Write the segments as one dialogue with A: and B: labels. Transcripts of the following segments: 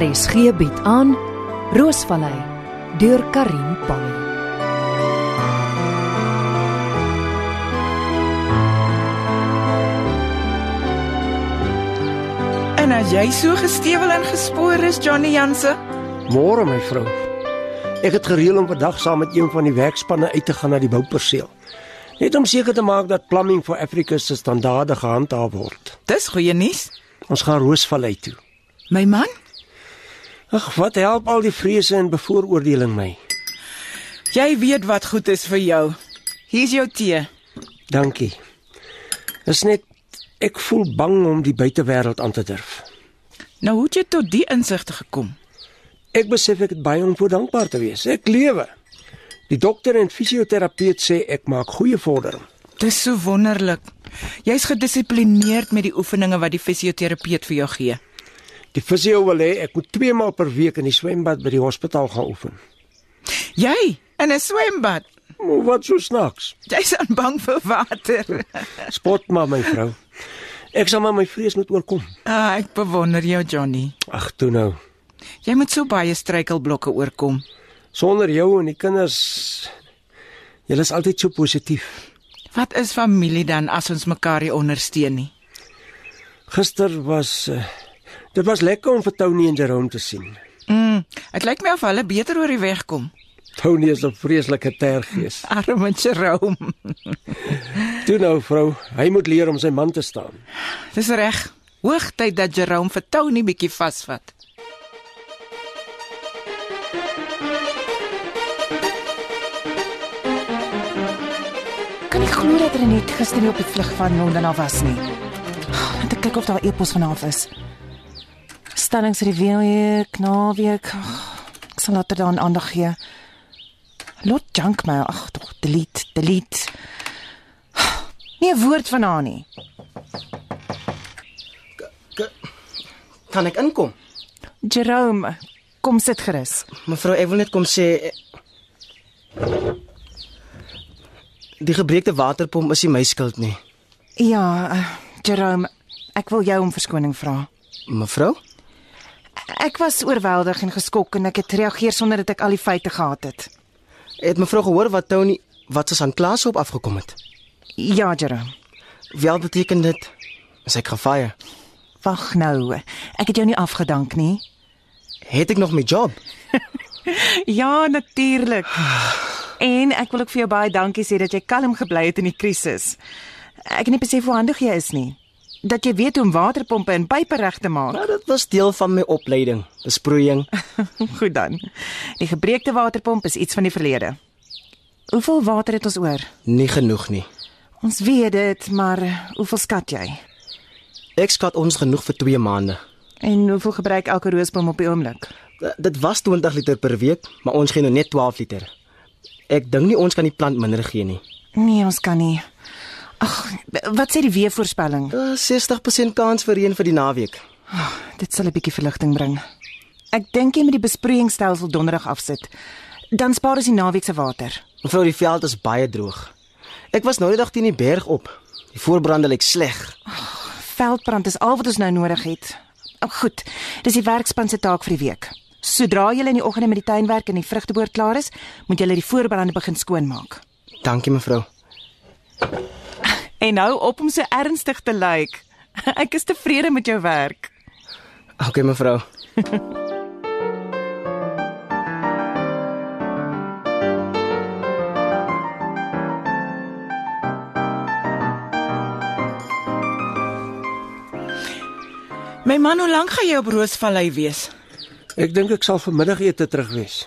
A: RSG bied aan Roosvallei deur Karin Pannie.
B: En as jy so gestewel en gespoor is, Johnny Janse,
C: Môre my vrou. Ek het gereël om vandag saam met een van die werkspanne uit te gaan na die bouperseel. Net om seker te maak dat Plumbing for Africa se standaarde gehandhaaf word.
B: dis goeie nuus.
C: Ons gaan Roosvallei toe.
B: My man,
C: Ag, wat help al die vrese en bevooroordeling my.
B: jy weet wat goed is vir jou. Hier's jou tee.
C: Dankie. Dis net ek voel bang om die buitewêreld aan te durf.
B: Nou hoe het jy tot die insigte gekom?
C: Ek besef ek het baie om voor dankbaar te wees. Ek lewe. Die dokter en fisioterapeut sê ek maak goeie vordering.
B: Dis so wonderlik. Jy's gedissiplineerd met die oefeninge wat die fisioterapeut vir jou gee.
C: Die fisio wil hê ek moet 2 maal per week in die swembad by die hospitaal gaan oefen.
B: Jy in 'n swembad.
C: Maar wat so snaaks?
B: Jy's aan bang vir water.
C: Spot maar my vrou. Ek sal maar my vrees moet oorkom.
B: Ah, ek bewonder jou, Johnny.
C: Ag toe nou.
B: Jy moet so baie struikelblokke oorkom.
C: Sonder jou en die kinders julle is altyd so positief.
B: Wat is familie dan as ons mekaar nie ondersteun nie?
C: Gister was uh, dit was lekker om vir Tony en Jerome te sien.
B: Mm, dit lyk my of hulle beter oor die weg kom.
C: Tony is 'n vreeslike tergees.
B: Arme Jerome.
C: Toe nou vrou, hy moet leer om sy man te staan.
B: Dis reg. Hoogtyd dat Jerome vir Tony bietjie vasvat.
D: Kan nie glo dat Renet gister nie op die vlug van Londen af was nie. Net ek kyk of daar e-pos vanaand is. Stellings vir die week, naweek. Ag, Ek sal later daaraan aandag gee. Lot junk mail. Ag, tog, delete, delete. Nie 'n woord van haar nie.
E: K- Kan ek inkom?
D: Jerome, kom sit gerus.
E: Mevrou, ek wil net kom sê eh, Die gebreekte waterpomp is nie my skuld nie.
D: Ja, eh, Jerome, ek wil jou om verskoning vra.
E: Mevrou,
D: Ek was oorweldig en geskok en ek het reageer sonder dat ek al die feite gehad het.
E: het mevrou gehoor wat Tony wat sy aan Klaas op afgekom het?
D: Ja, Jerome.
E: Wel beteken dit sy het gefire.
D: Wag nou. Ek het jou nie afgedank nie.
E: Het ek nog my job?
D: Ja, natuurlik. En ek wil ook vir jou baie dankie sê dat jy kalm gebly het in die krisis. Ek het nie besef hoe handig jy is nie. Dat jy weet hoe om waterpompe en pype reg te maak.
E: Nou dit was deel van my opleiding, besproeiing.
D: Goed dan. Die gebreekte waterpomp is iets van die verlede. Hoeveel water het ons oor?
E: Nie genoeg nie.
D: Ons weet dit, maar hoeveel skat jy?
E: Ek skat ons genoeg vir 2 maande.
D: En hoeveel gebruik elke roosboom op die oomblik?
E: D- Dit was 20 liter per week, maar ons gee nou net 12 liter. Ek dink nie ons kan die plant minder gee nie.
D: Nee, ons kan nie. Ag, wat sê die weervoorspelling?
E: Uh, 60% kans vir reën vir die naweek.
D: Dit sal 'n bietjie verligting bring. Ek dink jy moet die besproeiingsstelsel donderdag afsit. Dan spaar ons die naweek se water.
E: Mevrou, die veld is baie droog. Ek was nou die dag teen die berg op. Die voorbrande lyk sleg.
D: Veldbrand is al wat ons nou nodig het. Oh, goed, dis die werkspan se taak vir die week. Sodra jy in die oggende met die tuinwerk en die vrugteboer klaar is, moet jy die voorbrande begin skoonmaak.
E: Dankie mevrou.
D: En nou op om so ernstig te lyk. Ek is tevrede met jou werk.
E: OK mevrou.
B: My man, hoe lank gaan jy op Roosvallei wees?
C: Ek dink ek sal vanmiddagete terug wees.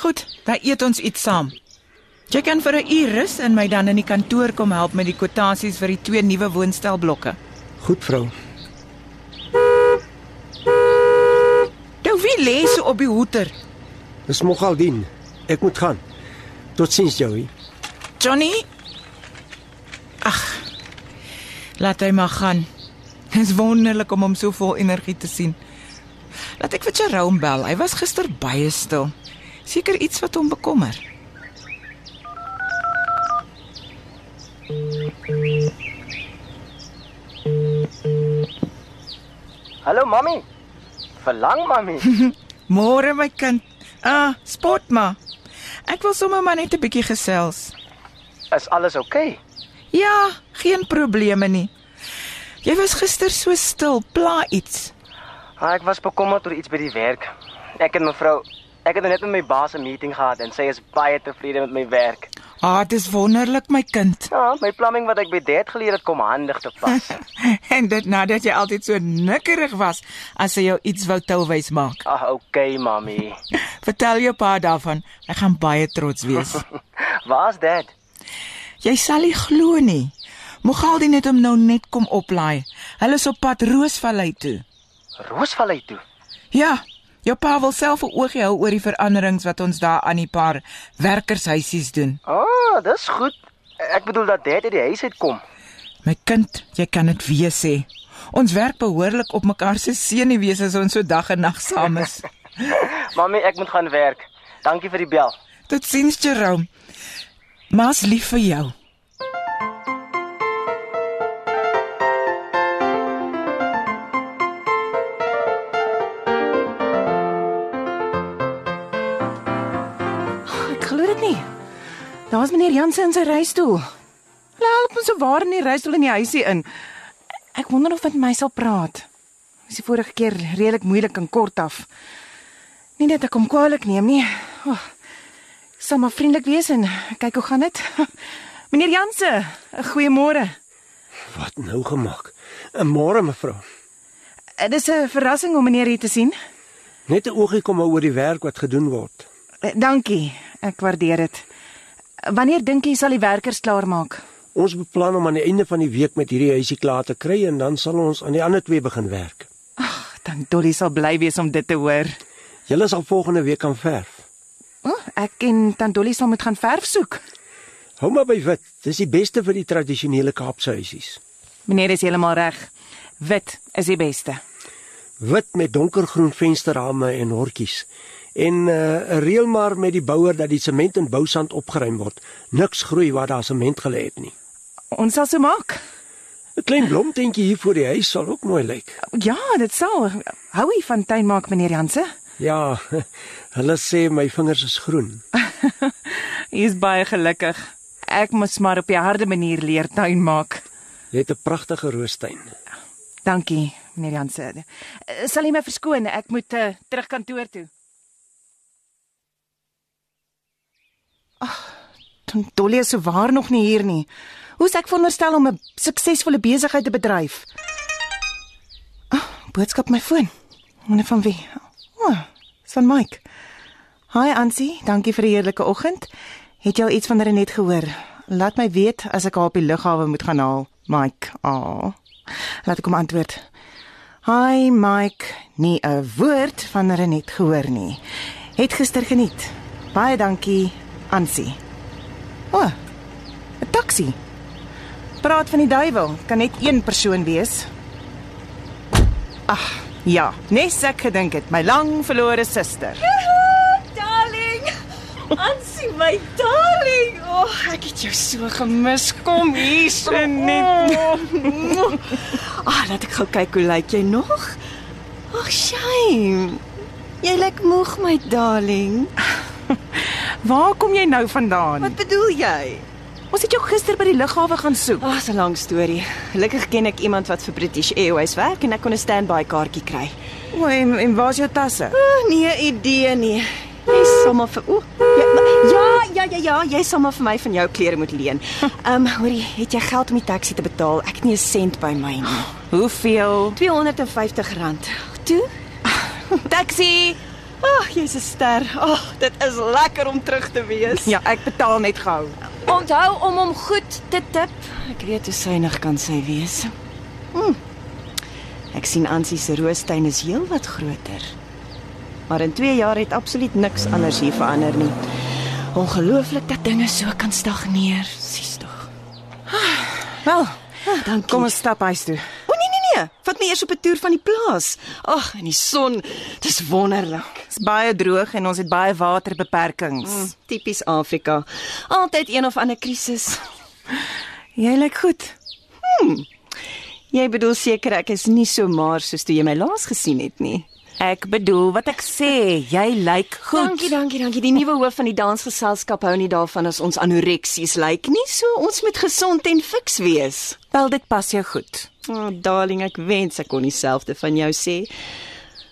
B: Goed, dan eet ons iets saam. Jy kan vir 'n uur rus en my dan in die kantoor kom help met die kwotasies vir die twee nuwe woonstelblokke.
C: Goed vrou.
B: Nou wie lê so op die hoeter?
C: Dis nogal dien. Ek moet gaan. Totsiens Joey.
B: Johnny? Ag. Laat hy maar gaan. Dit is wonderlik om hom so vol energie te sien. Laat ek vir Jerome bel. Hy was gister baie stil. Seker iets wat hom bekommer.
E: Hallo mami. verlang, mami.
B: Môre my kind. Ah, spot maar. Ek wil sommer maar net 'n bietjie gesels.
E: Is alles oukei? Okay?
B: Ja, geen probleme nie. Jy was gister so stil, pla iets.
E: Ah, ek was bekommerd oor iets by die werk. Ek en mevrou, ek het nou net met my baas 'n meeting gehad en sy is baie tevrede met my werk.
B: Ah, dis wonderlik my kind.
E: Ja, my plumbing wat ek by Dad geleer het kom handig te pas.
B: En dit nadat jy altyd so nikkerig was as sy jou iets wou touwys maak.
E: Ag, ah, okay, mami.
B: Vertel jou pa daarvan. Hy gaan baie trots wees.
E: Waar's Dad?
B: Jy sal nie glo nie. Mogaldi net hom nou net kom oplaai. Hulle is op pad Roosvallei toe.
E: Roosvallei toe.
B: Ja, jou pa wil self 'n oogie hou oor die veranderings wat ons daar aan die paar werkershuisies doen.
E: Ah, oh, dis goed. Ek bedoel dat Dad uit die huis uitkom.
B: My kind, jy kan dit weer sê. Ons werk behoorlik op mekaar se senuwees as ons so dag en nag saam is.
E: Mami, ek moet gaan werk. Dankie vir die bel.
B: Totsiens, Jerome. Ma's lief vir jou.
D: Ek glo dit nie. Daar's meneer Jansen in sy reistoel. Hulle help hom so waar in die reistoel in die huisie in. Ek wonder of hy met my sal praat. Dis die vorige keer redelik moeilik en kort af. Nie dat ek hom kwaliek neem nie. O, oh, sal maar vriendelik wees en kyk hoe gaan dit. Meneer Jansen, goeiemôre.
C: Wat nou gemaak? 'n Môre mevrou.
D: Dit is Eh, 'n verrassing om meneer hier te sien.
C: Net 'n oogie kom hou oor die werk wat gedoen word.
D: Eh, Dankie. Ek waardeer dit. Wanneer dink jy sal die werkers klaarmaak?
C: Ons beplan om aan die einde van die week met hierdie huisie klaar te kry en dan sal ons aan die ander twee begin werk.
D: Ag, dank Dolly sal bly wees om dit te hoor.
C: Julle sal volgende week kan verf.
D: O, oh, ek en tant Dolly sal moet gaan verf soek.
C: Hou maar by wit. Dis die beste vir die tradisionele Kaapse huisies.
D: Meneer is heeltemal reg. Wit is die beste.
C: Wit met donkergroen vensterrame en hortjies. En uh, reël maar met die bouer dat die sement en bousand opgeruim word. Niks groei waar daar sement gelê het nie.
D: Ons sal so maak.
C: 'n Klein blomtentjie hier voor die huis sal ook mooi lyk.
D: Ja, dit sal. Hou hy van tuin maak, meneer Jansen?
C: Ja, hulle sê my vingers is groen.
D: Hy is baie gelukkig. Ek moet maar op die harde manier leer tuin maak.
C: Jy het 'n pragtige roostuin.
D: Dankie, meneer Jansen. Eh, Sal jy my verskoon? Ek moet uh, terug kantoor toe. Ag, Dolly is sowaar nog nie hier nie. Hoe's ek veronderstel om 'n suksesvolle besigheid te bedryf? Ag, boodskap op my foon. Wonder van wie? O, oh, is van Mike. Hi Ansie, dankie vir die heerlike oggend. Het jy al iets van Renet gehoor? Laat my weet as ek haar op die lughawe moet gaan haal. Mike. Ah. Laat ek hom antwoord. Hi Mike, nie 'n woord van Renet gehoor nie. Het gister geniet. Baie dankie, Ansie. O, oh, 'n taxi. Praat van die duiwel, kan net een persoon wees. Ag, ja, nes ek gedink het, my lang verlore suster.
F: Darling. Ansie my darling. O, oh, ek het jou so gemis. Kom hier so net. Ah, laat ek gou kyk hoe lyk jy nog? Ag, oh, shame. Jy lyk moeg my darling.
D: Waar kom jy nou vandaan?
F: Wat bedoel jy?
D: Ons het jou gister by die lughawe gaan soek.
F: Ag, dis 'n lang storie. Gelukkig ken ek iemand wat vir British Airways werk en ek kon 'n standby kaartjie kry.
D: O, en, en waar's jou tasse?
F: Oh, nee idee nie. Jy sal maar vir o. Ja, ja, ja, ja, jy sal maar vir my van jou klere moet leen. Ehm, um, hoorie, het jy geld om die taxi te betaal? Ek het nie 'n sent by my nie.
D: Hoeveel?
F: R250. Toe.
D: Taxi.
F: Ag, oh, jy's 'n ster. Ag, oh, dit is lekker om terug te wees.
D: Ja, ek betaal net gou.
F: Onthou om hom goed te tip. Ek weet hoe suinig kan sy wees. Hm. Ek sien Ansie se roostuin is heelwat groter. Maar in 2 jaar het absoluut niks anders hier verander nie. Ongelooflik dat dinge so kan stagneer. Sies tog.
D: Wel,
F: Ah, dankie.
D: kom ons stap huis toe.
F: O nee nee nee, vat my eers op 'n toer van die plaas. Ag, in die son, dis wonderlik.
D: Dit's baie droog en ons het baie waterbeperkings. Mm.
F: Tipies Afrika. Altyd een of ander krisis.
D: Jy lyk goed.
F: Jy bedoel seker ek is nie so maar soos toe jy my laas gesien het nie.
D: Ek bedoel wat ek sê, jy lyk goed.
F: Dankie, dankie, dankie. Die nuwe hoof van die dansgeselskap hou nie daarvan as ons anoreksies lyk nie, so ons moet gesond en fiks wees.
D: Wel dit pas jou goed.
F: Oh, darling, ek wens ek kon dieselfde van jou sê.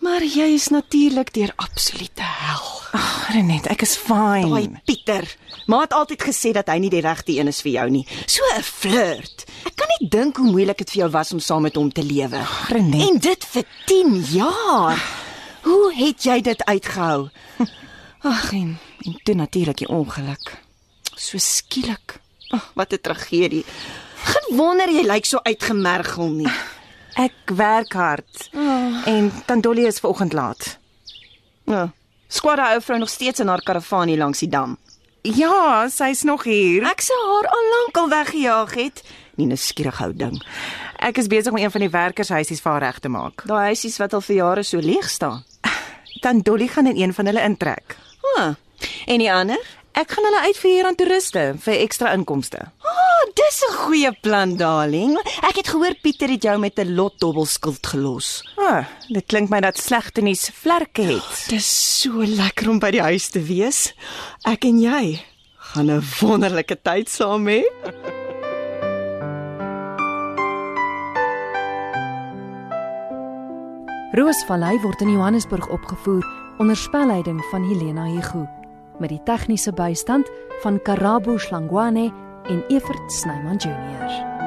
F: Maar jy is natuurlik deur absolute hel.
D: Ag, Renet, ek is fyn.
F: Daai Pieter. Ma het altyd gesê dat hy nie die regte een is vir jou nie. So 'n flirt. Ek kan nie dink hoe moeilik dit vir jou was om saam met hom te lewe.
D: Renet.
F: En dit vir 10 jaar. Hoe het jy dit uitgehou? Ag, en, en toe natuurlik die ongeluk. So skielik. Ag, wat 'n tragedie. Geen wonder jy lyk so uitgemergel nie.
D: Ek werk hard. Oh. En Tandoli is vanoggend laat.
F: Ja. Skwad daai ou vrou nog steeds in haar karavaan hier langs die dam.
D: Ja, sy's nog hier.
F: Ek sou haar al lank al weggejaag het. Nie 'n skierig ou ding.
D: Ek is besig om een van die werkershuisies vir haar reg te maak.
F: Daai huisies wat al vir jare so leeg staan.
D: Tandoli gaan in een van hulle intrek.
F: Ha. En die ander?
D: Ek gaan hulle uitverhuur aan toeriste vir ekstra inkomste.
F: O, oh, dis 'n goeie plan, darling. Ek het gehoor Pieter het jou met 'n lot dobbelskuld gelos.
D: Ah, dit klink my dat slegte nuus vlerke het.
F: Dis so lekker om by die huis te wees. Ek en jy gaan 'n wonderlike tyd saam hê.
A: Roosvallei word in Johannesburg opgevoer onder spelleiding van Helena Hugo met die tegniese bystand van Karabo Slangwane en Evert Snyman Junior.